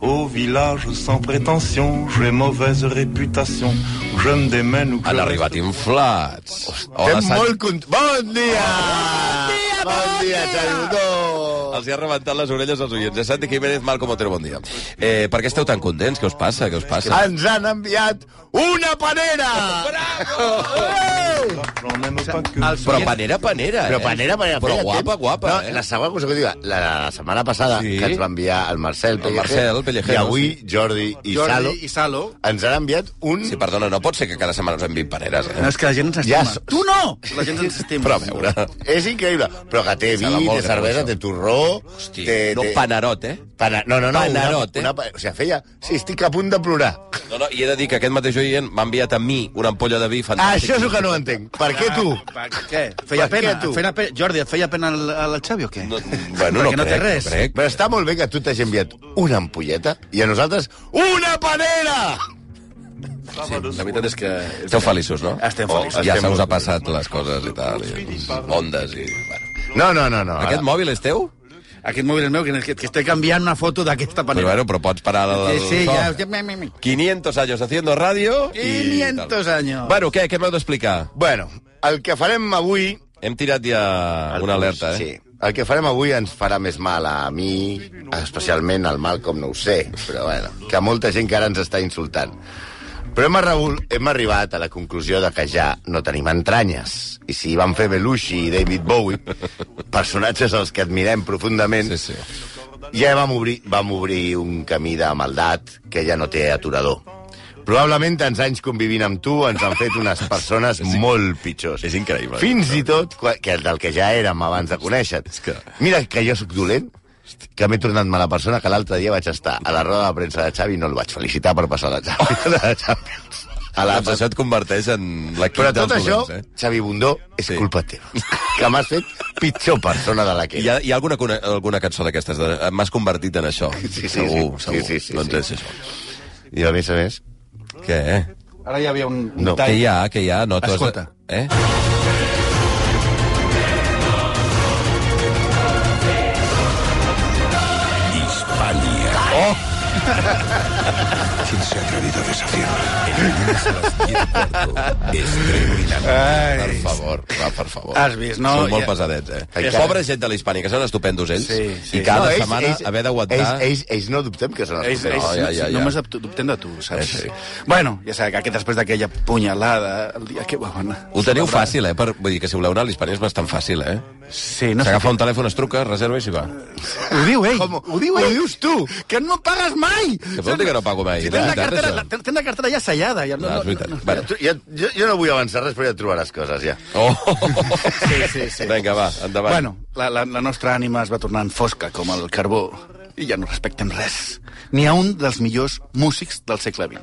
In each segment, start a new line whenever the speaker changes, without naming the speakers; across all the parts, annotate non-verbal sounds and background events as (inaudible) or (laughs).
Au village sans prétention, j'ai mauvaise réputation. Je me démène ou que
Han arribat inflats. Hola,
Estem molt cont... Bon dia! Bon dia, Xarutó!
Els hi ha rebentat les orelles als oients. Ja Santi Jiménez, Malcom Otero, bon dia. Eh, per què esteu tan contents? Què us passa? Què us passa?
Ens han enviat una panera! Bravo!
j'en aime pas que.
Però panera, panera,
Però
eh?
panera, panera,
Però
feia
guapa,
temps.
guapa,
no,
eh?
La segona consecutiva, la, la setmana passada,
Sí.
sí. que ens va enviar el Marcel Pellejero,
Marcel Pellejero,
i avui Jordi i Jordi Salo,
i Salo.
ens han enviat un...
Sí, perdona, no pot ser que cada setmana us enviïn paneres,
No,
eh?
és que la gent ens estima.
Ja-
Tu no! La gent ens estima.
Però a veure...
És increïble, però que té vi,
Serà molt
té
greu,
cervesa,
això.
té torró...
Hosti,
té,
no,
té...
panarot, eh?
Pana... No, no, no.
Panarot, eh?
una, una... O sigui, feia... Sí, estic a punt de plorar.
No, no, i he de dir que aquest mateix oient m'ha enviat a mi una ampolla de vi
Ah,
fantàstic.
això és el que no entenc. Per què tu?
Per què? Feia
Per què,
pena?
tu?
feia pena? Jordi, et feia pena el, el Xavi o què?
No, Mm, bueno, no,
Perquè no té
crec,
res.
No crec.
Però està molt bé que tu t'hagi enviat una ampolleta i a nosaltres una panera!
Sí, la veritat és que... Esteu feliços, no? Oh,
Estem feliços.
ja
Estem
se us ha
molt
passat les coses i tal, i ondes i... Bueno.
No, no, no, no.
Aquest mòbil és teu?
Aquest mòbil és meu, que, que, que estic enviant una foto d'aquesta
Però,
panera.
Doncs bueno, però pots parar de...
Eh,
del
sí,
so.
ja... ja me, me, me.
500 años haciendo radio i...
500
tal.
años.
Bueno, què? Què m'heu d'explicar?
Bueno, el que farem avui...
Hem tirat ja una alerta, eh?
Sí. El que farem avui ens farà més mal a mi, especialment al mal com no ho sé, però bueno, que a molta gent que ara ens està insultant. Però hem, arrebul, hem arribat a la conclusió de que ja no tenim entranyes. I si van fer Belushi i David Bowie, personatges als que admirem profundament,
Sí, sí.
ja vam obrir, vam obrir un camí de maldat que ja no té aturador. Probablement tants anys convivint amb tu ens han fet unes
(laughs)
persones molt pitjors.
és increïble.
Fins i tot qua- que del que ja érem abans de conèixer-te.
És que-
Mira que jo sóc dolent, que m'he tornat mala persona, que l'altre dia vaig estar a la roda de premsa de Xavi i no el vaig felicitar per passar de
Oh.
(laughs) Xavi. De Champions. A la...
Doncs això et converteix en l'equip
Però
dels
tot això,
dolents, eh?
Xavi Bundó, és
Sí.
culpa teva. Que m'has fet pitjor persona de la que
Hi ha, hi ha alguna, cone- alguna cançó d'aquestes? de- eh, M'has convertit en això.
Sí, sí,
segur,
sí.
segur.
Sí, sí, sí,
doncs
sí.
és això.
I a més a més...
Què? eh?
Ara ja hi havia un...
No.
Què hi ha? Què hi ha? No, tu has de-
Escolta.
Eh?
Oh!
¿Quién (laughs) se ha atrevido a desafiarme? Extremadamente.
Per favor, va, per favor.
Has vist, no?
Són molt
Ja.
pesadets, eh?
Ai,
Encara. Pobra gent de la hispànica, són estupendos ells.
Sí, sí.
I cada
No, ells-
setmana
ells-
haver d'aguantar...
Ells, ells, ells no dubtem que són els
Ells, ells,
culpables.
ja, ja, ja.
Només dubten- dubten de tu, saps?
Eh, sí.
Bueno, ja sabeu que aquest, després d'aquella punyalada, el dia que vam anar...
Ho teniu fàcil, eh? Per, vull dir que si voleu anar a l'Hispània és bastant fàcil, eh?
Sí, no sé.
S'agafa un telèfon, es truca, es reserva i s'hi va.
Ho diu ell.
Com-
ho diu
ho
ell.
dius tu?
Que no pagues mai.
Que vol dir que no pago mai?
Si tens la
De veritat,
cartera,
això?
la, tens la cartera ja sellada. Ja, no,
No, és
no,
veritat.
no,
Bueno.
Tu- Jo, jo, jo no vull avançar res, però ja et trobaràs coses, ja.
Oh!
Sí, sí, sí.
Vinga, va, endavant.
Bueno, la, la, la nostra ànima es va tornant fosca com el carbó i ja no respectem res. Ni a un dels millors músics del segle XX.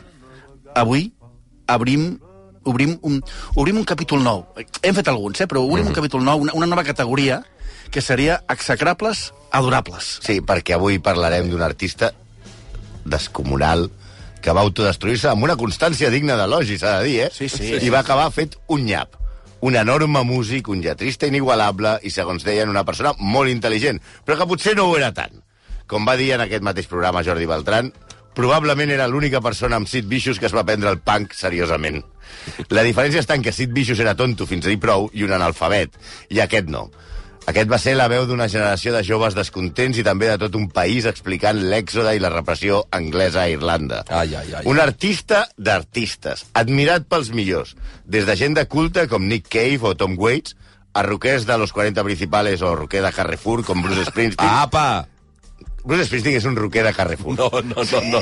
Avui obrim obrim un, obrim un capítol nou. Hem fet alguns, eh? però obrim
Mhm.
un capítol nou, una, una nova categoria que seria execrables adorables.
Sí, perquè avui parlarem d'un artista descomunal que va autodestruir-se amb una constància digna d'elogi, s'ha de dir, eh?
Sí, sí.
I va acabar fet un nyap. Un enorme músic, un lletrista inigualable i, segons deien, una persona molt intel·ligent, però que potser no ho era tant. Com va dir en aquest mateix programa Jordi Beltran, probablement era l'única persona amb Sid Vicious que es va prendre el punk seriosament. La diferència està en que Sid Vicious era tonto fins a dir prou i un analfabet, i aquest no. Aquest va ser la veu d'una generació de joves descontents i també de tot un país explicant l'èxode i la repressió anglesa a Irlanda.
Ai, ai, ai.
Un artista d'artistes, admirat pels millors, des de gent de culte com Nick Cave o Tom Waits, a roquers de los 40 principales o roquer de Carrefour com Bruce Springsteen.
Apa!
Bruce Springsteen és un roquer de Carrefour.
No, no, no, no.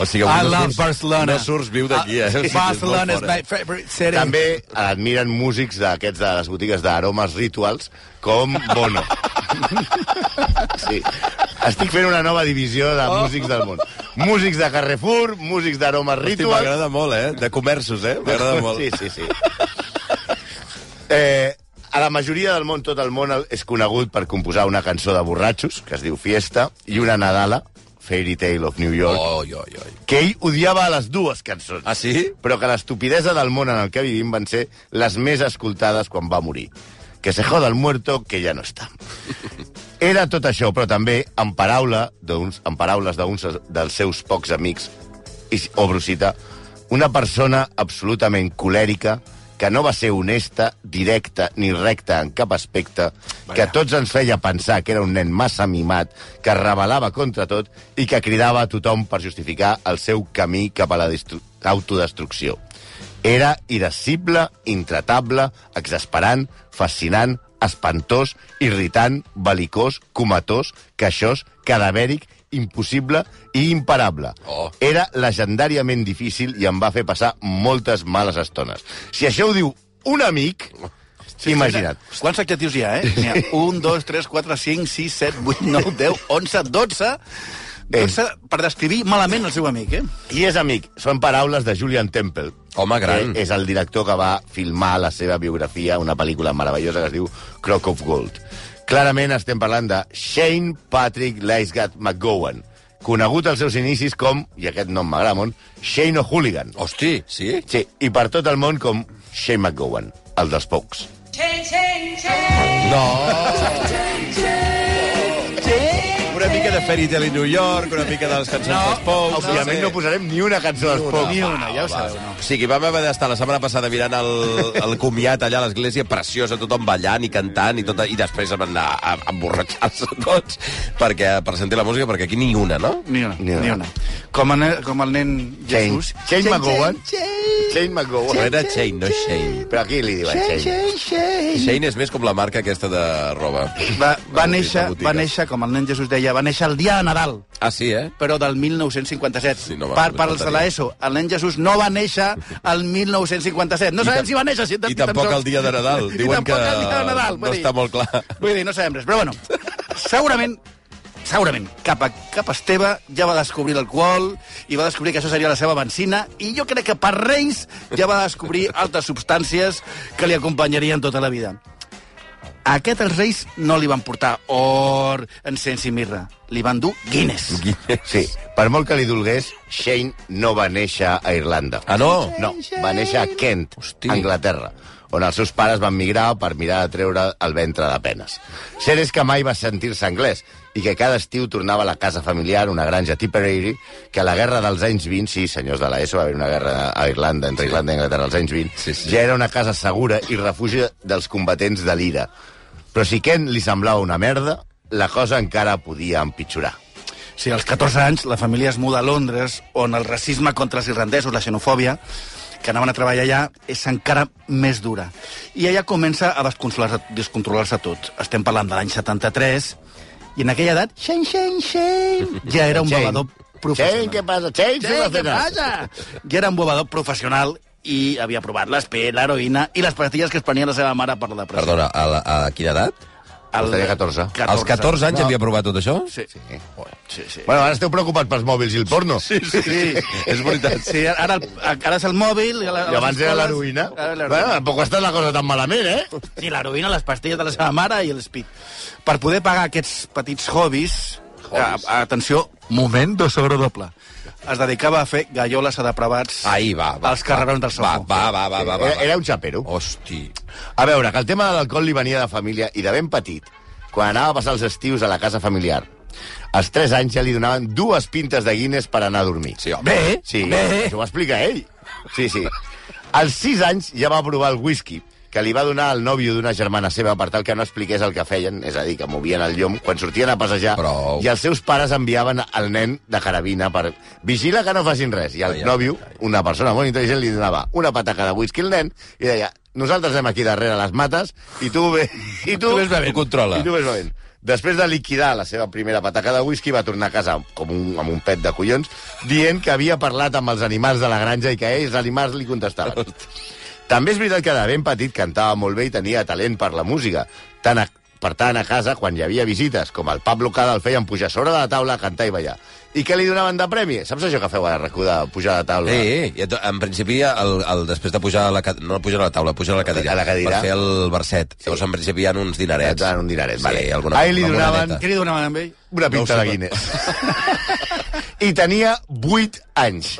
O sigui,
I
avui no
love
surts,
Barcelona.
No surts viu d'aquí, eh? O sigui, és molt
Barcelona is
fora.
Ah, my favorite city.
També admiren músics d'aquests de les botigues d'aromes rituals com Bono. Sí. Estic fent una nova divisió de músics del món. Músics de Carrefour, músics d'aromes
Hosti,
rituals...
m'agrada molt, eh? De comerços, eh? M'agrada molt.
Sí, sí, sí. Eh, a la majoria del món, tot el món el- és conegut per composar una cançó de borratxos, que es diu Fiesta, i una Nadala, Fairy Tale of New York,
Oi, oi, oi.
que ell odiava a les dues cançons.
Oh. Ah, sí?
Però que l'estupidesa del món en el que vivim van ser les més escoltades quan va morir. Que se joda el muerto, que ja no està. Era tot això, però també en, paraula d'uns- en paraules d'uns dels seus pocs amics, i s- obro cita, una persona absolutament colèrica que no va ser honesta, directa ni recta en cap aspecte, que a tots ens feia pensar que era un nen massa mimat, que es rebel·lava contra tot i que cridava a tothom per justificar el seu camí cap a la destru- autodestrucció. Era irascible, intratable, exasperant, fascinant, espantós, irritant, belicós, comatós, queixós, cadavèric, impossible i imparable.
Oh.
Era legendàriament difícil i em va fer passar moltes males estones. Si això ho diu un amic, sí, imagina't.
Quants adjectius hi ha, eh?
(laughs)
N'hi ha 1, 2, 3, 4, 5, 6, 7, 8, 9, 10, 11, 12... 12 per descriure malament el seu amic, eh?
I és amic. Són paraules de Julian Temple.
Home gran.
Que és el director que va filmar la seva biografia, una pel·lícula meravellosa que es diu Croc of Gold. Clarament estem parlant de Shane Patrick Leisgat McGowan, conegut als seus inicis com, i aquest nom m'agrada molt, Shane O'Hooligan.
Hosti, sí?
Sí, i per tot el món com Shane McGowan, el dels pocs.
Change, change, change.
No! Una mica de Fairy Tale in New York, una mica de les cançons no, dels Pous...
Òbviament no posarem ni una cançó Ah, dels pocs.
Ni una, ja ho sabeu, no?
Sí, que vam haver d'estar la setmana passada mirant el, el comiat allà a l'església, preciosa, tothom ballant i cantant, i, tot, i després vam anar a, a emborratxar-se tots perquè, per sentir la música, perquè aquí ni una, no?
Ni una,
Ni una.
ni una. Com, el, nen- com el nen
Shane,
Jesús.
Shane McGowan. Shane McGowan.
Però era Shane, no Shane.
Però aquí li diuen Shane.
Shane és més com la marca aquesta de roba.
Va, va,
La
néixer,
botiga.
va néixer, com el nen Jesús deia, va néixer el dia de Nadal,
Ah, sí, eh?
però del 1957.
Sí, no, va,
per,
només
per als de
faltaria.
l'ESO, el nen Jesús no va néixer el 1957. No sabem si va néixer. Si
I tampoc el dia de Nadal.
I
Diuen que
tampoc el dia de Nadal, vull
no
dir.
està molt clar.
Vull dir, no sabem res. Però bueno, segurament segurament, cap a, cap a Esteve ja va descobrir l'alcohol i va descobrir que això seria la seva benzina i jo crec que per Reis ja va descobrir altres substàncies que li acompanyarien tota la vida. A aquest els Reis no li van portar or, encens i mirra. Li van dur Guinness.
Sí, per molt que li dolgués, Shane no va néixer a Irlanda.
Ah, no?
No, va néixer a Kent,
Hosti.
Anglaterra, on els seus pares van migrar per mirar de treure el ventre de penes. Cert és que mai va sentir-se anglès i que cada estiu tornava a la casa familiar, una granja Tipperary, que a la guerra dels anys 20, sí, senyors de l'ESO, va haver una guerra a Irlanda, entre Irlanda i Anglaterra als anys 20,
Sí, sí.
ja era una casa segura i refugi dels combatents de l'ira. Però si Kent li semblava una merda, la cosa encara podia empitjorar.
Sí, als 14 anys la família es muda a Londres, on el racisme contra els irlandesos, la xenofòbia, que anaven a treballar allà, és encara més dura. I allà comença a descontrolar-se descontrolar tot. Estem parlant de l'any 73, i en aquella edat, Shane, Shane, Shane, ja era un
Shane.
bevedor
Shane, què
professional.
passa? Shane,
Shane,
surt a
què
cenar.
passa? Ja era un bevedor professional i havia provat l'espè, l'heroïna i les pastilles que es prenia la seva mare per la depressió.
Perdona, a, la, a quina edat?
El-
Tenia 14.
Als 14 anys havia provat tot això?
Sí, sí. sí, sí.
Bueno, ara esteu preocupats pels mòbils i el porno. Sí,
Sí,
És veritat.
Sí, ara, el- ara és el mòbil... I, a la- a
I
les
abans era
escoles-
l'heroïna.
Ara era
Bueno, tampoc està la cosa tan malament, eh?
Sí, l'heroïna, les pastilles de la seva mare i el speed. Per poder pagar aquests petits hobbies, hobbies. A, atenció, moment de sobre doble. Es dedicava a fer galloles a depravats
Ahí va, va.
als carrerons del Eh,
Va,
Soho.
va, va, va, va. va.
Era, era un xapero.
Hosti.
A veure, que el tema de l'alcohol li venia de família i de ben petit, quan anava a passar els estius a la casa familiar. Als 3 anys ja li donaven dues pintes de Guinness per anar a dormir.
Sí, home. Bé.
Sí, això ho explica ell. Sí, sí. Als 6 anys ja va provar el whisky, que li va donar el nòvio d'una germana seva per tal que no expliqués el que feien, és a dir, que movien el llom quan sortien a passejar
Prou.
i els seus pares enviaven el nen de carabina per vigila que no facin res. I el
Ai, ai,
nòvio, una persona molt intel·ligent, li donava una pataca de whisky al nen i deia nosaltres anem aquí darrere a les mates i tu, ve, i tu,
Tu ves bevent. Tu controla.
I tu ves bevent. Després de liquidar la seva primera patacada de whisky, va tornar a casa com un, amb un pet de collons, dient que havia parlat amb els animals de la granja i que ells, els animals, li contestaven. També és veritat que de ben petit cantava molt bé i tenia talent per la música. Tant a, per tant, a casa, quan hi havia visites, com el Pablo Cada el feien pujar sobre de la taula a cantar i ballar. I què li donaven de premi? Saps això que feu a RAC1 de pujar a la taula?
Eh, eh, i et- en principi, el, el, després de pujar a la, ca- no pujar a la taula, pujar a la cadira,
A la cadira.
per fer el verset. Sí. Llavors, en principi, hi ha uns dinerets.
Et donen un dineret, vale.
Sí, alguna,
Ahí li
alguna
donaven-
monedeta.
Què li donaven amb ell?
Una pinta
No ho sé.
de Guinness. (laughs) I tenia 8 anys.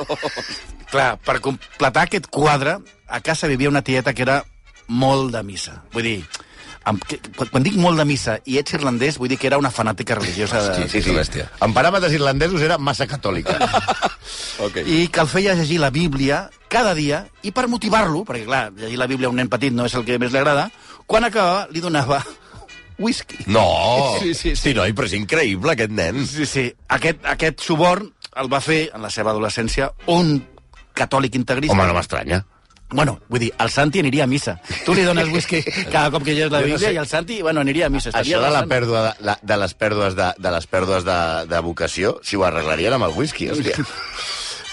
Clar, per completar aquest quadre, a casa vivia una tieta que era molt de missa. Vull dir, Amb, que, quan- quan dic molt de missa i ets irlandès, vull dir que era una fanàtica religiosa. De...
Sí, sí. Bèstia.
En paràmetres irlandesos era massa catòlica.
Okay.
I que el feia llegir la Bíblia cada dia, i per motivar-lo, perquè, clar, llegir la Bíblia a un nen petit no és el que més li agrada, quan acabava, li donava (laughs) whisky.
No!
Sí, sí, sí.
sí noi, però és increïble, aquest nen.
Sí, sí. Aquest, aquest suborn el va fer, en la seva adolescència, un catòlic integrista.
Home, no m'estranya.
Bueno, vull dir, el Santi aniria a missa. Tu li dones
(laughs)
whisky cada cop que llegeix la
Jo no
Bíblia
sé.
i el Santi, bueno, aniria a missa.
Això de, la
bastant-
pèrdua de, la, de les pèrdues de, de les pèrdues de, de vocació, si ho arreglarien amb el whisky, hòstia.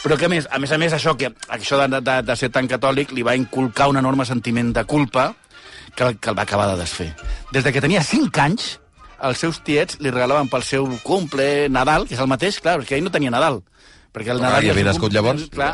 Però que a més, a més a més, això, que, això de, de, de ser tan catòlic li va inculcar un enorme sentiment de culpa que, el- que el va acabar de desfer. Des de que tenia 5 anys, els seus tiets li regalaven pel seu cumple Nadal, que és el mateix, clar, perquè ell no tenia Nadal. Perquè el Nadal
ja
i el seu
havia nascut
cumple,
llavors?
Clar,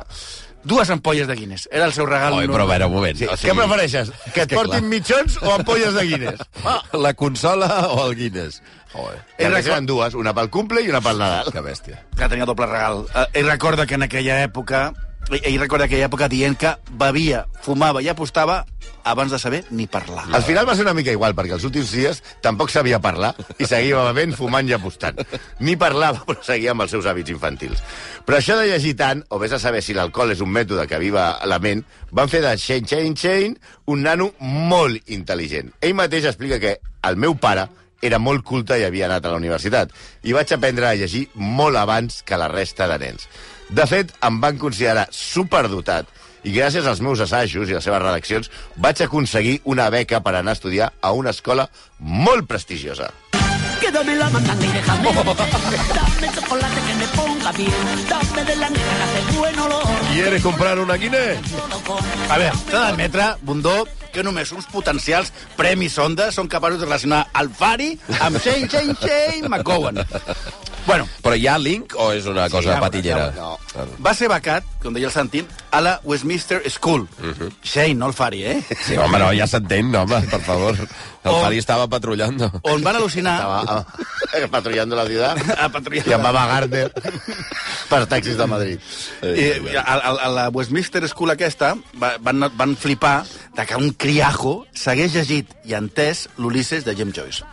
dues ampolles de Guinness. Era el seu regal.
Oi,
normal.
però a veure, un moment.
Sí, Què prefereixes? Que et
que
portin
clar.
mitjons o ampolles de Guinness?
Ah, (laughs) La consola o el Guinness? Oi,
I a més eren dues, una pel cumple i una pel Nadal.
que bèstia.
que tenia doble regal. Eh, Ell recorda que en aquella època ell- ell recorda aquella època dient que bevia, fumava i apostava abans de saber ni parlar.
Al final va ser una mica igual, perquè els últims dies tampoc sabia parlar i seguia bevent, fumant i apostant. Ni parlava, però seguia amb els seus hàbits infantils. Però això de llegir tant, o vés a saber si l'alcohol és un mètode que aviva la ment, van fer de Shane Shane Shane un nano molt intel·ligent. Ell mateix explica que el meu pare era molt culte i havia anat a la universitat, i vaig aprendre a llegir molt abans que la resta de nens. De fet, em van considerar superdotat i gràcies als meus assajos i les seves redaccions vaig aconseguir una beca per anar a estudiar a una escola molt prestigiosa.
Que dame la mandanga y déjame. Dame chocolate que me ponga bien. Dame de la negra que hace buen olor.
¿Quieres comprar una Guinness?
Solo con
A veure, s'ha d'admetre, Bundó, que només uns potencials premis onda són capaços de relacionar el Fari amb Shane, Shane, Shane McGowan. Bueno,
Però hi ha link o és una cosa
ja,
patillera?
ja,
Ah,
va ser becat, com deia el Santi, a la Westminster School. Shane, no el Fari, eh?
Sí, home, no, ja s'entén, no, home, per favor. El
O-
Fari estava patrullant.
On van al·lucinar...
Estava ah, (laughs) patrullando la ciutat
A patrullar.
i llamava Gardner per taxis de Madrid.
Eh,
I Eh, a, a, a la Westminster School aquesta va- van, van flipar de que un criajo s'hagués llegit i entès l'Ulisses de James Joyce.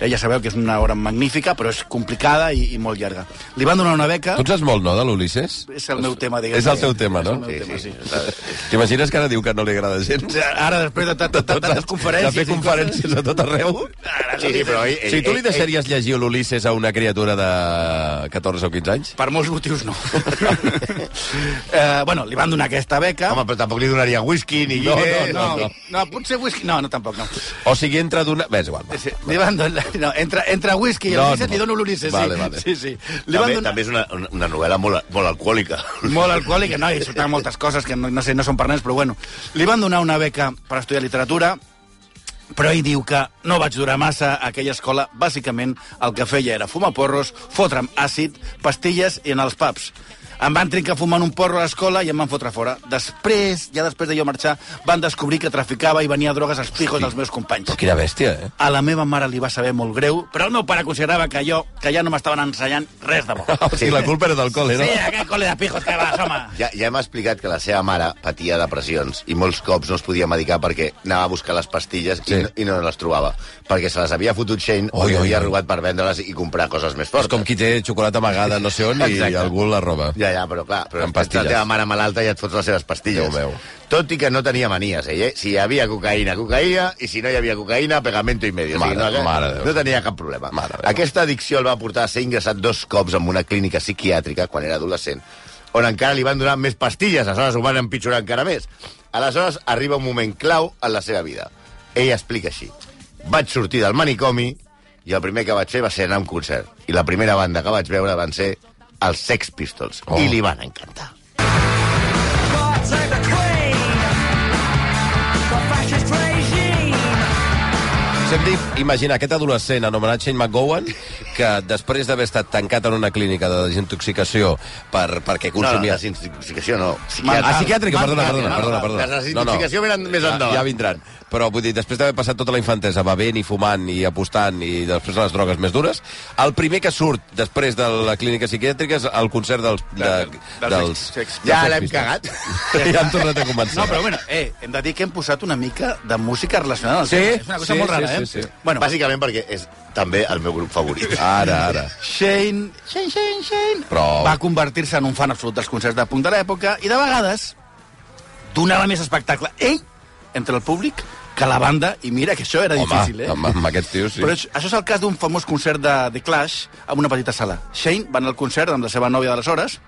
Eh, ja sabeu que és una obra magnífica, però és complicada i, i molt llarga. Li van donar una beca...
Tu en saps molt, no, de l'Ulisses?
És el meu tema, diguem.
És el teu tema, no?
És el meu tema, sí.
T'imagines que ara diu que no li agrada gens?
Ara, després de ta- ta- ta- tantes
Tota De
conferències...
fer
i coses-
conferències a tot arreu?
Sí, sí, però ell, ell,
Si tu li
ell- ell-
deixaries llegir l'Ulisses a una criatura de 14 o 15 anys?
Per molts motius,
(laughs)
no. eh, bueno, li van donar aquesta beca...
Home, però tampoc li donaria whisky ni
No,
Guinness.
no, no, no, potser whisky... No, no, tampoc, no.
O sigui, entra d'una... Bé, és igual. va.
Sí, li van donar... No, entre, entre whisky i el
No,
no,
no.
li dono l'Ulisses, sí.
Vale, vale.
Sí, sí. Li van
També,
donar...
també és una, una- una novel·la molt, molt alcohòlica.
Molt alcohòlic, no, i surten moltes coses que no, no sé, no són per nens, però bueno. Li van donar una beca per estudiar literatura, però ell diu que no vaig durar massa a aquella escola. Bàsicament, el que feia era fumar porros, fotre'm àcid, pastilles i anar als pubs. Em van trincar fumant un porro a l'escola i em van fotre fora. Després, ja després de jo marxar, van descobrir que traficava i venia drogues als pijos dels meus companys.
Però quina bèstia, eh?
A la meva mare li va saber molt greu, però el meu pare considerava que jo, que ja no m'estaven ensenyant
(laughs)
res de bo.
O sigui, Ah, la culpa era del col·le,
Sí,
no?
aquest col·le de pijos que vas, home.
Ja, ja hem explicat que la seva mare patia depressions i molts cops no es podia medicar perquè anava a buscar les pastilles sí.
Sí.
i, no, i no les trobava. Perquè se les havia fotut Shane o
Oi,
li
oi,
havia
oi.
robat per vendre-les i comprar coses més
És
fortes.
com qui té xocolata amagada no sé on i
Exacte.
algú la roba.
Ja, ja, però clar, però
Amb
és que
pastilles.
la teva mare malalta ja et fots les seves pastilles.
Déu meu.
Tot i que no tenia manies, ell, eh? Si hi havia cocaïna, cocaïna, i si no hi havia cocaïna, pegamento i medio.
Mare-
o sigui, no, eh?
mare de Déu.
no tenia cap problema.
Mare de Déu.
Aquesta addicció el va portar a ser ingressat dos cops en una clínica psiquiàtrica quan era adolescent, on encara li van donar més pastilles, aleshores ho van empitjorar encara més. Aleshores arriba un moment clau en la seva vida. Ell explica així. Vaig sortir del manicomi i el primer que vaig fer va ser anar a un concert. I la primera banda que vaig veure van ser els Sex Pistols.
Oh.
I li van encantar.
Hem dit, imagina, aquest adolescent anomenat Shane McGowan, que després d'haver estat tancat en una clínica de desintoxicació per, perquè consumia...
No, no, desintoxicació no.
Ah, psiquiàtrica, psiquiàtrica, perdona,
Mental,
perdona,
mental.
perdona, perdona.
Les desintoxicació venen més endavant.
Ja, ja vindran. Però vull dir, després d'haver passat tota la infantesa bevent i fumant i apostant i després a les drogues més dures, el primer que surt després de la clínica psiquiàtrica és el concert dels... De,
dels ex- ex-
Ja
dels
l'hem
Pistols.
cagat.
(laughs) ja hem tornat a començar.
No, però bueno, eh, hem de dir que hem posat una mica de música relacionada amb el
Sí,
tema. És una cosa
sí,
molt
sí,
rara,
sí,
eh?
sí.
Bueno,
Bàsicament perquè és també el meu grup favorit.
Ara, ara.
Shane, Shane, Shane, Shane...
Prou.
Va convertir-se en un fan absolut dels concerts de punt de l'època i de vegades donava més espectacle ell entre el públic que la banda, i mira que això era
Home,
difícil, eh?
amb, amb aquests tios, sí.
Però això, això és el cas d'un famós concert de The Clash en una petita sala. Shane va anar al concert amb la seva nòvia d'aleshores.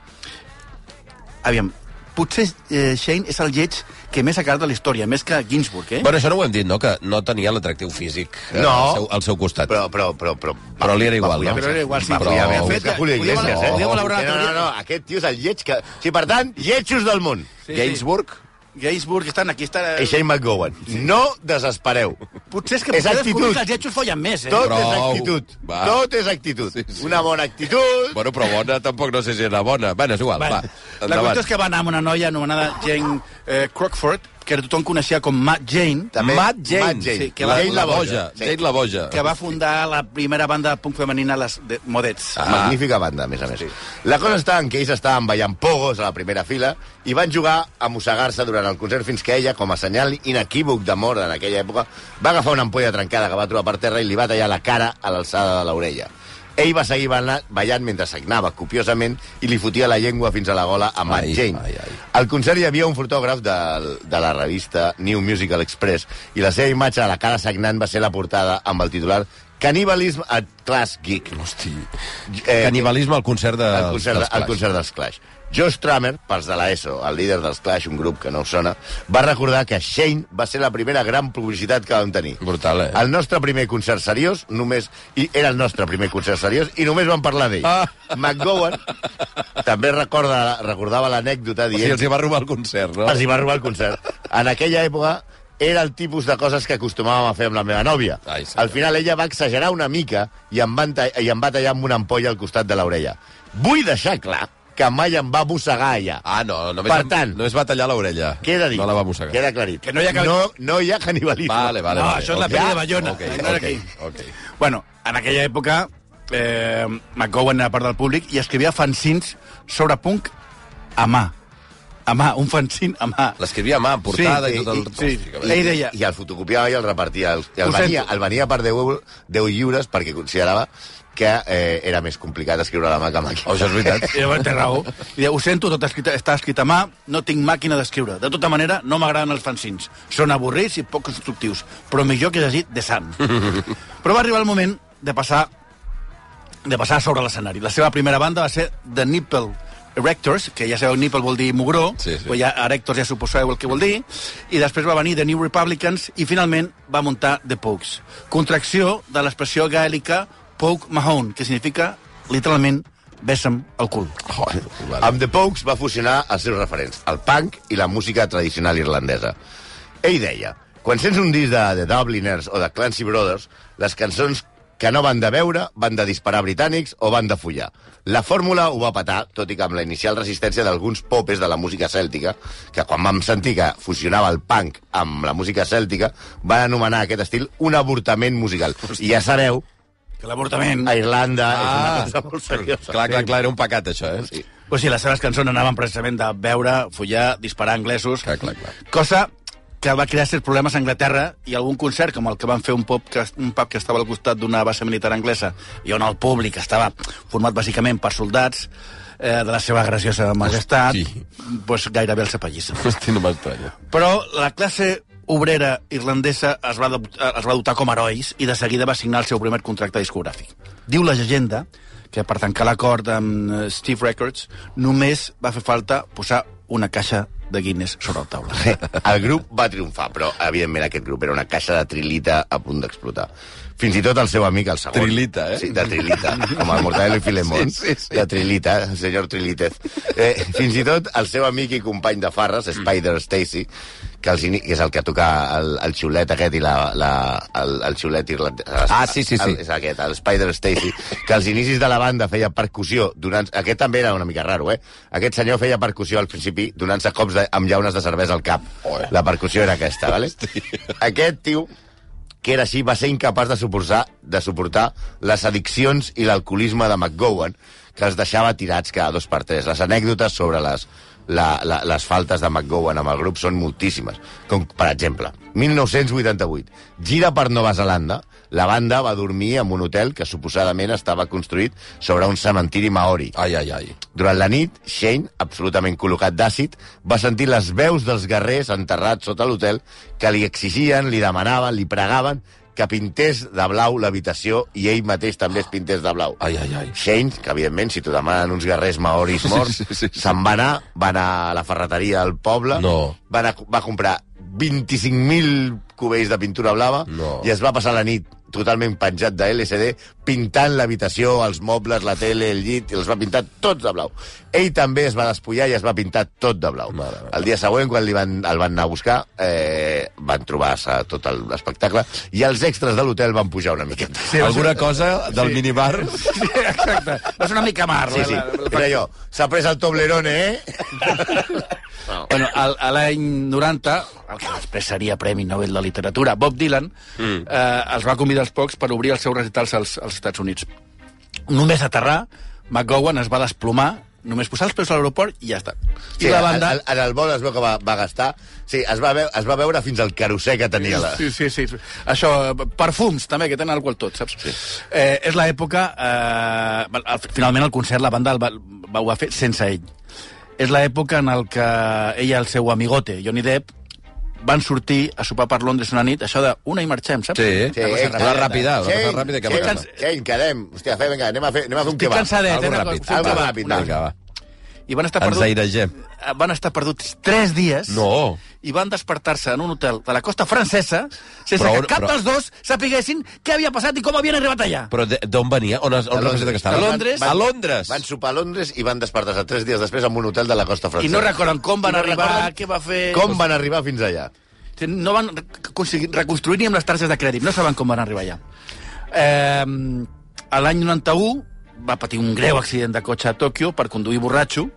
Aviam, potser eh, Shane és el lleig que més ha quedat de la història, més que Ginsburg, eh?
Bueno, això no ho hem dit, no? Que no tenia l'atractiu físic eh,
No.
al, seu, al seu costat.
Però, però, però, però,
Però li era igual, no?
Però era igual, sí.
Va,
Però-
podia haver fet
Podíem-
que Julio
podíem-
Iglesias, eh?
podíem elaborar una
no, no,
teoria.
no, aquest tio és el lleig que... Sí, per tant, lletjos del món.
sí, Gainsbourg?
Ginsburg, estan aquí, estan...
I Shane McGowan. No desespereu.
Potser és que
És
potser descobrim
actitud.
que els lletjos follen més, eh?
Tot
Prou.
és actitud.
Va.
Tot és actitud.
Sí, sí.
Una bona actitud.
Bueno, però bona tampoc no sé si era bona. Bueno, és igual,
Bueno,
va.
la
Endavant.
qüestió és que va anar amb una noia anomenada Jane eh, Crockford, que tothom coneixia com Matt Jane,
També-
Matt Jane.
Matt Jane.
Sí, que
la,
va-
Jane la boja.
Sí.
Jane la boja.
que va fundar la primera banda de punk femenina, les de Modets.
Ah.
Magnífica banda, a més a més. La cosa està en que ells estaven ballant pogos a la primera fila i van jugar a mossegar-se durant el concert fins que ella, com a senyal inequívoc d'amor en aquella època, va agafar una ampolla trencada que va trobar per terra i li va tallar la cara a l'alçada de l'orella. Ell va seguir balla- ballant mentre sagnava copiosament i li fotia la llengua fins a la gola a Matt
Ai,
Jane.
ai, ai.
Al concert hi havia un fotògraf de, de la revista New Musical Express i la seva imatge de la cara sagnant va ser la portada amb el titular Cannibalism at Class Geek.
Hosti.
Eh,
Canibalisme al concert de...
el concert,
dels
el
Clash.
concert dels Clash. Josh Tramer, pels de l'ESO, el líder dels Clash, un grup que no us sona, va recordar que Shane va ser la primera gran publicitat que vam tenir.
Brutal, eh?
El nostre primer concert seriós només... I era el nostre primer concert seriós i només vam parlar d'ell.
Ah.
McGowan també recorda, recordava l'anècdota
O sigui,
dient...
els hi va robar el concert, no?
Els hi va robar el concert. En aquella època era el tipus de coses que acostumàvem a fer amb la meva nòvia.
Ai, senyor.
al final ella va exagerar una mica i em, van ta- i em va tallar amb una ampolla al costat de l'orella. Vull deixar clar que mai em va mossegar allà.
Ah, no, només,
Per
em-
tant-
només va tallar l'orella.
Queda dit.
No la va mossegar.
Queda aclarit.
Que no hi ha cal-
no, no hi ha canibalisme.
Vale, vale,
No,
vale.
això és la
ok.
peli de Bayona.
Ok,
No era
ok,
aquí.
ok.
Bueno, en aquella època eh, McGowan era part del públic i escrivia fanzins sobre punk a mà. A mà, un fanzin a mà.
L'escrivia a mà, en portada
Sí,
i tot el...
i- sí.
Hosti, que bé.
I,
Ell deia-
I el fotocopiava i el repartia. El,
Ho
el, venia,
sento.
el venia per 10, euro- 10 lliures perquè considerava que eh, era més complicat escriure a la mà que a màquina.
Oh, això és veritat.
I llavors té raó. I deia, ho sento, tot escrit, està escrit a mà, no tinc màquina d'escriure. De tota manera, no m'agraden els fanzins. Són avorrits i poc constructius, però millor que llegir de sant. però va arribar el moment de passar de passar sobre l'escenari. La seva primera banda va ser The Nipple Erectors, que ja sabeu, Nipple vol dir mugró,
Sí, sí.
però ja Erectors ja suposeu el que vol dir, i després va venir The New Republicans i finalment va muntar The Pogues. Contracció de l'expressió gaèlica Pogue Mahone, que significa, literalment, besa'm el cul.
Vale.
Amb The Pogues va fusionar els seus referents, el punk i la música tradicional irlandesa. Ell deia, quan sents un disc de The Dubliners o de Clancy Brothers, les cançons que no van de veure, van de disparar britànics o van de follar. La fórmula ho va patar, tot i que amb la inicial resistència d'alguns popes de la música cèltica, que quan vam sentir que fusionava el punk amb la música cèltica, van anomenar aquest estil un avortament musical. I ja sabeu,
Que l'avortament...
a Irlanda
Ah.
és una cosa molt seriosa.
Clar, clar, clar, era un pecat, això, eh? Sí.
Pues sí, les seves cançons anaven precisament de beure, follar, disparar anglesos...
Clar, clar, clar.
Cosa que va crear certs problemes a Anglaterra i algun concert, com el que van fer un pub que, un pub que estava al costat d'una base militar anglesa i on el públic estava format bàsicament per soldats eh, de la seva graciosa majestat,
Hosti.
pues gairebé el sepallissa.
Hosti, no m'estranya.
Però la classe obrera irlandesa es va, adop- eh, es va dotar com a herois i de seguida va signar el seu primer contracte discogràfic. Diu la llegenda que per tancar l'acord amb eh, Steve Records només va fer falta posar una caixa de Guinness sobre la taula.
El grup va triomfar, però, evidentment, aquest grup era una caixa de trilita a punt d'explotar. Fins i tot el seu amic, el segon.
Trilita, eh?
Sí, de trilita, com el Mortadelo i Filemón.
Sí, sí, sí.
De trilita, el senyor Trilitez. Eh, fins i tot el seu amic i company de Farres, Spider Stacy, que, els, ini- que és el que toca el, el xulet aquest i la, la, el, el xulet irlandès.
Ah, sí, sí, sí.
El, és aquest, el Spider Stacy, que als inicis de la banda feia percussió donant... Aquest també era una mica raro, eh? Aquest senyor feia percussió al principi donant-se cops de, amb llaunes de cervesa al cap. La percussió era aquesta, vale? Aquest tio que era així, va ser incapaç de suportar, de suportar les addiccions i l'alcoholisme de McGowan, que els deixava tirats cada dos per tres. Les anècdotes sobre les, la, la, les faltes de McGowan amb el grup són moltíssimes. Com, per exemple, 1988, gira per Nova Zelanda, la banda va dormir en un hotel que suposadament estava construït sobre un cementiri maori.
Ai, ai, ai.
Durant la nit, Shane, absolutament col·locat d'àcid, va sentir les veus dels guerrers enterrats sota l'hotel que li exigien, li demanaven, li pregaven que pintés de blau l'habitació i ell mateix també es pintés de blau.
Ai, ai, ai.
Shane, que evidentment, si t'ho demanen uns guerrers maoris
(laughs)
morts,
Sí,
se'n
sí, sí.
va anar, va anar a la ferreteria del poble,
No.
va, anar, va comprar 25.000 cubells de pintura blava
No.
i es va passar la nit totalment penjat de LCD, pintant l'habitació, els mobles, la tele, el llit, i els va pintar tots de blau. Ell també es va despullar i es va pintar tot de blau.
Mare meva.
El dia següent, quan li van, el van anar a buscar, eh, van trobar-se tot el- l'espectacle i els extras de l'hotel van pujar una miqueta.
Alguna cosa del sí. minibar?
Exacte. Va ser una mica eh, mar.
Sí, sí. Era allò. S'ha pres el Toblerone, eh?
Bueno, al, a l'any 90, el que després seria Premi Nobel de Literatura, Bob Dylan, mm. eh, els va convidar els pocs per obrir els seus recitals als, als Estats Units. Només aterrar, McGowan es va desplomar, només posar els peus a l'aeroport i ja està. I la banda...
En, en el vol es veu que va, va gastar... Sí, es va, veure, es va veure fins al carosser que tenia la...
Sí, sí, sí. Això, eh, perfums, també, que tenen alcohol tot, saps? Sí. Eh, és l'època... Eh, val, al- finalment, el concert, la banda el va, va, ho va fer sense ell. És l'època en el que ell i el seu amigote, Johnny Depp, van sortir a sopar per Londres una nit, això de una i marxem, saps?
Sí.
Sí,
Una cosa
exacte.
ràpida, una cosa
Shane,
ràpida que
Shane,
acaba.
Shane, quedem. Hòstia, fe, vinga, anem a fer, anem a fer un
Estic
kebab.
cansadet,
Algo
eh, de-
ràpid.
fer un
Algo
kebab,
ràpid,
una-
algo.
Vinga, va.
I van estar
Ens
perduts...
airegem.
eh, Van estar perduts tres dies
No.
i van despertar-se en un hotel de la costa francesa sense
Però on-
que cap
però-
dels dos sapiguessin què havia passat i com havien arribat allà.
Però de- d'on venia? On, es- on representa que estava?
A Londres.
A Londres.
Van sopar a Londres i van despertar-se tres dies després en un hotel de la costa
I
francesa.
no recorden com van
I no
arribar,
recorden
què va fer...
Com van arribar fins allà?
O sigui, No van aconseguir reconstruir ni amb les targes de crèdit. No saben com van arribar allà. Eh, a l'any 91 va patir un greu accident de cotxe a Tòquio per conduir borratxo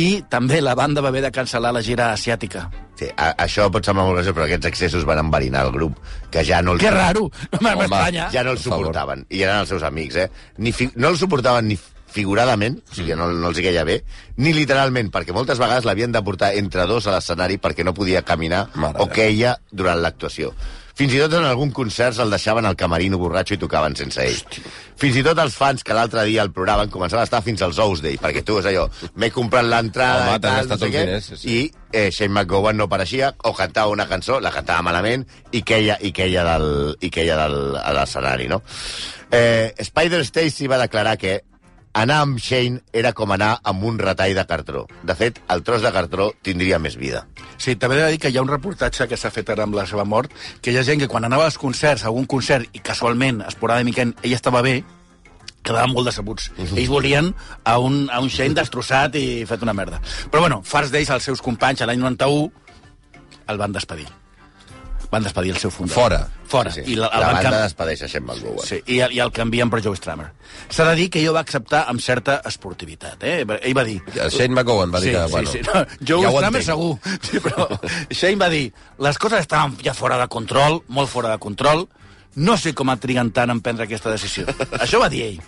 i també la banda va haver de cancel·lar la gira asiàtica.
Sí, a, això pot semblar molt gràcies, però aquests excessos van enverinar el grup, que ja no el...
Que raro! No
Home,
m'estranya.
ja no els
Per favor.
suportaven, i eren els seus amics, eh? Ni fi, no els suportaven ni figuradament, o sigui, no, no els hi queia bé, ni literalment, perquè moltes vegades l'havien de portar entre dos a l'escenari perquè no podia caminar
Mare
o
de
queia durant l'actuació. Fins i tot en algun concert el deixaven al camerino borratxo i tocaven sense ell. Fins i tot els fans que l'altre dia el programa començaven a estar fins als ous d'ell, perquè tu és allò, m'he comprat l'entrada
Home, t'has
i tal, no
gastat
sé
uns
què,
diners, sí, sí.
i eh, Shane McGowan no apareixia o cantava una cançó, la cantava malament i queia, i queia, del, i queia del, a l'escenari, no? Eh, Spider Stacy va declarar que anar amb Shane era com anar amb un retall de cartró. De fet, el tros de cartró tindria més vida.
Sí, també he de dir que hi ha un reportatge que s'ha fet ara amb la seva mort, que hi ha gent que quan anava als concerts, a algun concert, i casualment, esporàdicament, ell estava bé, quedaven molt decebuts. Ells volien a un, a un Shane destrossat i fet una merda. Però bueno, farts d'ells, els seus companys, a l'any 91, el van despedir. Van despedir el seu fundador.
Fora.
Fora.
Sí,
I la,
la
el van
banda
canviar-
despedeix a Shane McGowan.
Sí, i, i el canvien per Joe Strummer. S'ha de dir que ell ho va acceptar amb certa esportivitat. Eh? Ell va dir...
Shane McGowan va dir
sí,
que...
sí,
bueno,
sí. No, Joe
ho
Strummer
entenc.
segur. (laughs) Sí, però Shane va dir, les coses estaven ja fora de control, molt fora de control, no sé com et triguen tant en prendre
(laughs)
aquesta decisió. Això va dir ell.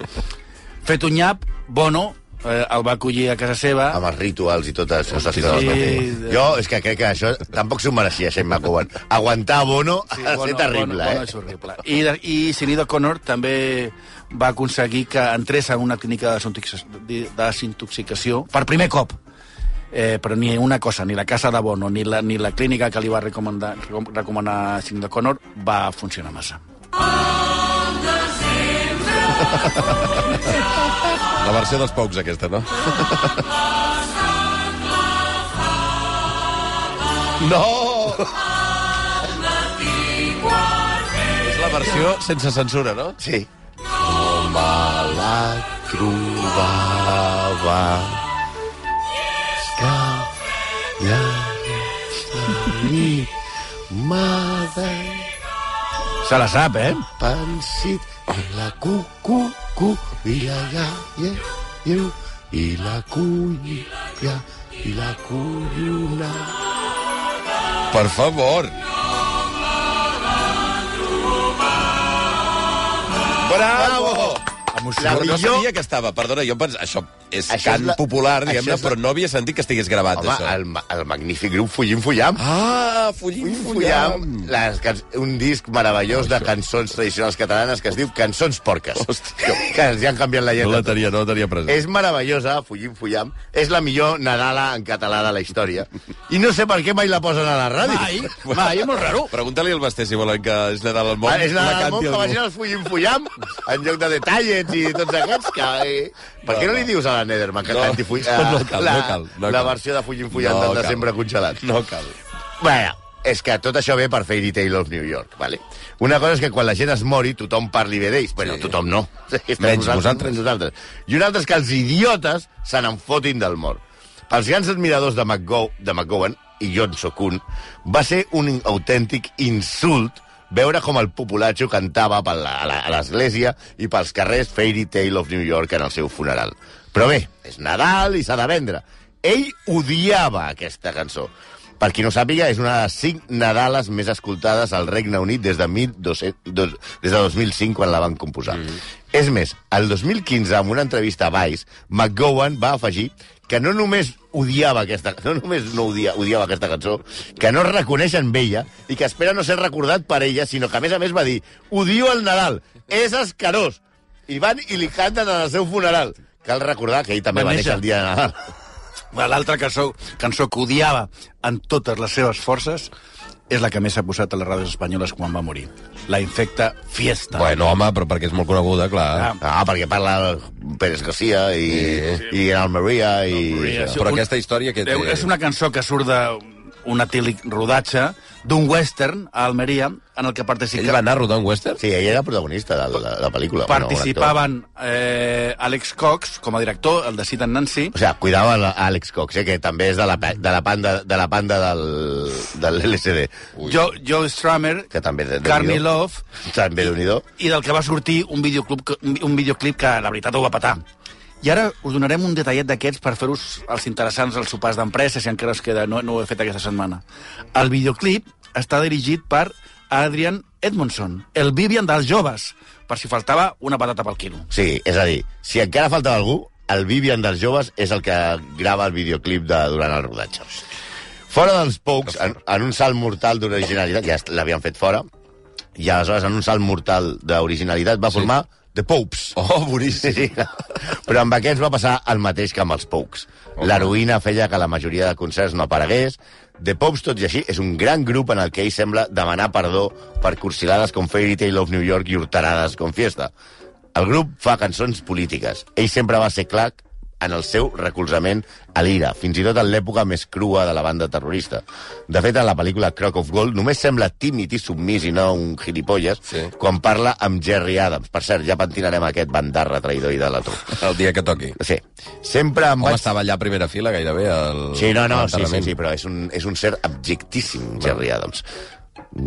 Fet un nyap, Bono eh, el va acollir a casa seva.
amb els rituals i totes les coses que
sí.
sí. Jo és que crec que això tampoc s'ho mereixia, Shane McGowan. Aguantar a Bono sí, ha de ser terrible,
Bono, Bono
eh?
és horrible. I, de- i Sinido Connor també va aconseguir que entrés en una clínica de desintoxi- de desintoxicació per primer cop. Eh, però ni una cosa, ni la casa de Bono, ni la, ni la clínica que li va recomanar, recom- recomanar Sinido Connor va funcionar massa.
La versió dels pocs, aquesta, no? No! És la versió sense censura, no?
Sí. No me la trobava. És que ja és la nit Mother,
Se la sap, eh?
pansit, la cu, cu, cu, i la ja, ja, ja, i la cu, ja, i la collona.
Per favor. Bravo!
Emoció.
La
La
no millor...
millor-
sabia que estava, perdona, jo pens... això és
Això és
això cant
la-
la... popular, diguem-ne,
això és la-
però no havia sentit que estigués gravat,
Home,
això.
el, ma- el magnífic grup Fullim Fullam.
Ah, Fullim,
Fullim
Fullam.
Fullam, les can... un disc meravellós de cançons tradicionals catalanes que es diu Cançons Porques.
Hòstia.
Que els hi han canviat la
No
lletra.
la tenia, no la tenia present.
És meravellosa, Fullim Fullam. És la millor Nadala en català de la història. I no sé per què mai la posen a la ràdio. (laughs)
Mai, mai, és molt raro.
Pregunta-li al Basté si volen que és Nadal al món.
Ah, és la,
canti
del món que
algú.
vagin al Fullim Fullam en lloc de detallets i tots aquests que... Eh? Per què no li dius a la Nederman que
No.
canti Fullim...
No, no cal,
la,
no cal, no
la
cal.
versió de Fullim Fullam
No
no, del
cal.
desembre congelat.
No cal.
Bueno, és que tot això ve per Fairy Tale of New York, vale? Una cosa és que quan la gent es mori tothom parli bé d'ells. Bueno,
Sí.
tothom
(laughs)
no. Estem
Menys vosaltres.
Menys nosaltres. I una altra és que els idiotes se n'enfotin del mort. Pels grans admiradors de, McGow, de McGowan, i jo en sóc un, va ser un autèntic insult veure com el populatxo cantava per la- a la- a l'església i pels carrers Fairy Tale of New York en el seu funeral. Però bé, és Nadal i s'ha de vendre. Ell odiava aquesta cançó. Per qui no sàpiga, és una de les cinc Nadales més escoltades al Regne Unit des de, 1200, dos- des de 2005, quan la van composar. Mm. És més, el 2015, en una entrevista a Vice, McGowan va afegir que no només odiava aquesta, (laughs) no només no odia, odiava aquesta cançó, que no es reconeix en ella i que espera no ser recordat per ella, sinó que, a més a més, va dir «Odio el Nadal, és escarós!» I van i li canten en el seu funeral. Cal recordar que ell també va,
Va
va néixer
néixer.
el dia de Nadal.
L'altra cançó, cançó que odiava en totes les seves forces és la que més s'ha posat a les ràdios espanyoles quan va morir. La infecta Fiesta.
Bueno, home, però perquè és molt coneguda, clar.
Clar.
Ah, perquè parla el Pérez García i, i en Almeria i...
Almeria, sí.
Però aquesta història que té...
Déu, Eh, és una cançó que surt d'un atílic rodatge d'un western a Almeria en el que participa...
Ell va anar a rodar un western?
Sí, ell era protagonista de la, la pel·lícula. bueno, un actor.
participaven eh, Alex Cox com a director, el de Sid and Nancy,
O sigui, cuidava la- Àlex Cox, eh, que també és de la, pa- de la panda, de la panda del, de l'LCD.
Joe, Joe Strummer,
Que també de, de
Carmi Love,
També d'un idó.
i del que va sortir un videoclip, que- un vi- un videoclip que la veritat ho va petar. I ara us donarem un detallet d'aquests per fer-vos els interessants als sopars d'empresa, si encara us queda, no, no ho he fet aquesta setmana. El videoclip està dirigit per Adrian Edmondson, el Vivian dels joves, per si faltava una patata pel quilo.
O sigui, és a dir, si encara faltava algú, el Vivian dels joves és el que grava el videoclip de, durant el rodatge. Fora dels Pogues, en, en un salt mortal d'originalitat, ja est- l'havien fet fora, i aleshores en un salt mortal d'originalitat va formar sí. The Popes.
Oh, boníssim.
(laughs) Sí, sí. Però amb aquests va passar el mateix que amb els Pogues.
Oh.
L'heroïna feia que la majoria de concerts no aparegués. The Pogues, tot i així, és un gran grup en el que ell sembla demanar perdó per cursilades com Fairy Tale of New York i horterades com Fiesta. El grup fa cançons polítiques. Ell sempre va ser clar en el seu recolzament a l'ira, fins i tot en l'època més crua de la banda terrorista. De fet, en la pel·lícula Croc of Gold només sembla tímid i submís i no un gilipolles sí.
Sí.
quan parla amb Jerry Adams. Per cert, ja pentinarem aquest bandarra traïdor i de la tu.
El dia que toqui.
Sí. Sempre em
Home,
vaig...
estava allà a primera fila gairebé. al-
Sí, no, no,
al
sí, sí,
enterrament.
sí, però és un, és un cert abjectíssim, Jerry Adams.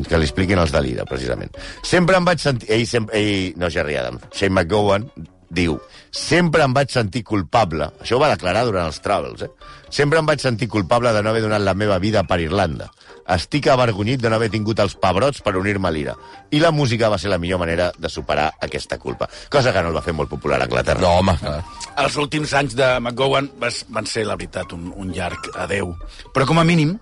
Que li expliquin els de l'Ira, precisament. Sempre em vaig sentir... Ell, sempre, ell, no, Jerry Adams, Shane McGowan diu sempre em vaig sentir culpable, això ho va declarar durant els Travels, eh? sempre em vaig sentir culpable de no haver donat la meva vida per Irlanda. Estic avergonyit de no haver tingut els pebrots per unir-me a l'Ira. I la música va ser la millor manera de superar aquesta culpa. Cosa que no el va fer molt popular a Anglaterra.
No, home, clar.
Els últims anys de McGowan vas- van ser, la veritat, un, un llarg adeu. Però com a mínim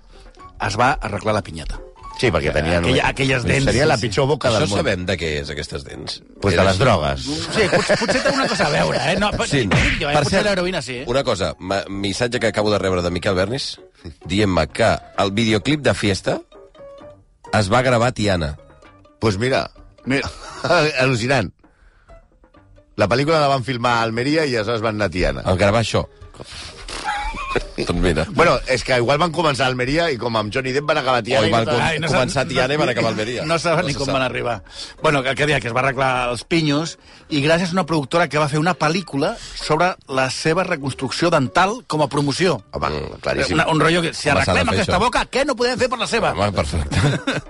es va arreglar la pinyata.
Sí, perquè tenien...
Aquella- aquelles dents,
Seria la
sí, sí.
pitjor boca
Això
del món.
sabem de què és, aquestes dents.
Pues de les drogues.
Sí, potser, potser té una cosa a veure, eh? No, pot, sí. Jo, eh?
Per
Potser
cert,
l'heroïna sí, eh?
Una cosa, ma- missatge que acabo de rebre de Miquel Bernis, dient-me que el videoclip de Fiesta es va gravar a Tiana.
Pues mira,
Mira,
(laughs) al·lucinant. La pel·lícula la van filmar a Almeria i aleshores van anar a Tiana.
El gravar això. doncs mira.
Bueno, és que igual van començar a Almeria i com amb Johnny Depp van acabar a Tiana...
Oi, van
no
com-
tal.
Ai, no començar Tiana i van acabar Almeria.
No saben
No
ni
se
com
sap.
van arribar. Bueno, que, que dia que es va arreglar els pinyos i gràcies a una productora que va fer una pel·lícula sobre la seva reconstrucció dental com a promoció.
Home,
Mm.
claríssim.
Una, un rotllo que
Home,
si
s'ha de
arreglem
fer
aquesta
això.
boca, què no podem fer per la seva?
Home, perfecte.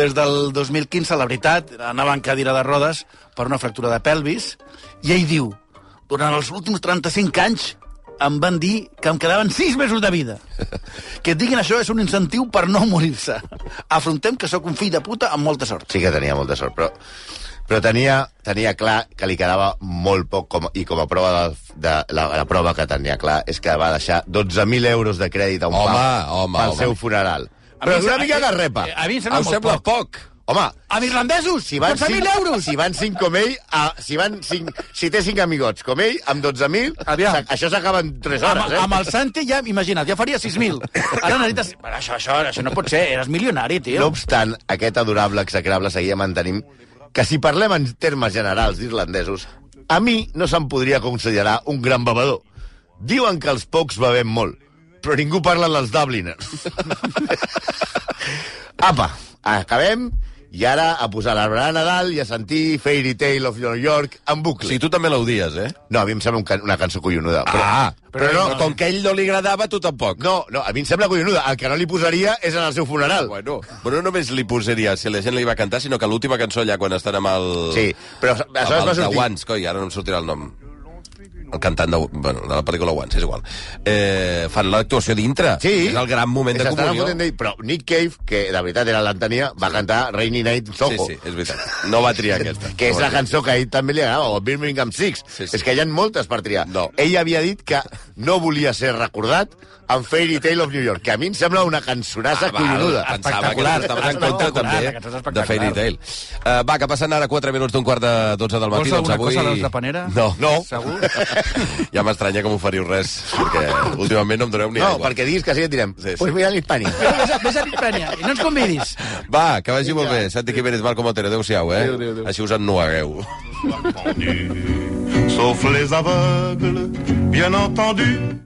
Des del 2015, la veritat, anava en cadira de rodes per una fractura de pelvis, i ell diu, durant els últims 35 anys em van dir que em quedaven 6 mesos de vida. Que et diguin això és un incentiu per no morir-se. Afrontem que sóc un fill de puta amb molta sort.
Sí que tenia molta sort, però, però tenia, tenia clar que li quedava molt poc, com, i com a prova de, de la, la prova que tenia clar és que va deixar 12.000 euros de crèdit a un
Home,
pap
home,
pel
home.
seu funeral.
mi
Però
em
és una
sembla-
mica de repa.
A mi em sembla
Em
Ah, molt
sembla
poc.
poc.
Home,
Amb irlandesos,
si van,
12.000 euros!
si van 5 com ell, a, si, van 5, si té 5 amigots com ell, amb 12.000,
Aviam.
s'ac- això s'acaba en 3
Amb,
hores, eh?
amb el Santi ja, imagina't, ja faria (laughs) 6.000. Ara necessites... Però això, això, això no pot ser, eres milionari, tio.
No obstant, aquest adorable execrable seguia mantenint que si parlem en termes generals d'irlandesos, a mi no se'm podria considerar un gran bevedor. Diuen que els pocs bevem molt, però ningú parla dels Dubliners. (laughs) Apa, acabem i ara a posar l'arbre de Nadal i a sentir Fairy Tale of New York en
O
bucle.
sigui, tu també l'odies, eh?
No, a mi em sembla un can una cançó collonuda. Però...
Ah,
però
però
no.
com que a ell no li agradava, tu tampoc.
No, no, a mi em sembla collonuda. El que no li posaria és en el seu funeral.
Bueno, però no només li posaria si la gent li va cantar, sinó que l'última cançó allà quan estan amb el...
Sí, però
amb
aleshores va
el de
sortir...
Once, coi, ara no em sortirà el nom. El cantant de, bueno, de la pel·lícula Once, és igual. Eh, fan l'actuació dintre.
Sí.
És el gran moment de
S'estan
comunió.
fotent d'ell, Però Nick Cave, que de veritat era l'Antania, va cantar Rainy Night in
Sí,
Soho.
sí, és veritat. No va triar aquesta.
Que és
No va
la
triar.
cançó que a ell també li agradava, o Birmingham Six.
Sí, sí.
És que hi ha moltes per triar.
No.
Ell havia dit que no volia ser recordat en Fairy Tale of New York, que a mi em sembla una cançonassa ah, collonuda.
Val, pensava que t'estaves en contra
Espectacular, aquesta és
també de
espectacular.
Fairy Tale. Uh, va, que passen ara 4 minuts d'un quart de 12 del matí. doncs
Vols alguna
avui...
cosa dels de Panera?
No. no.
Segur?
(laughs) ja m'estranya com oferiu res, perquè
(laughs)
últimament no em doneu ni
No,
aigua.
perquè diguis que sí et direm.
Sí, sí.
Doncs pues mira l'hispànic.
Vés a, vés a Penya, i no ens convidis.
Va, que vagi molt bé. Santi Quimenes, Marco Montero, adéu-siau, eh?
Adéu, adéu, adéu.
Així us ennuegueu.
Sauf les aveugles, bien entendu.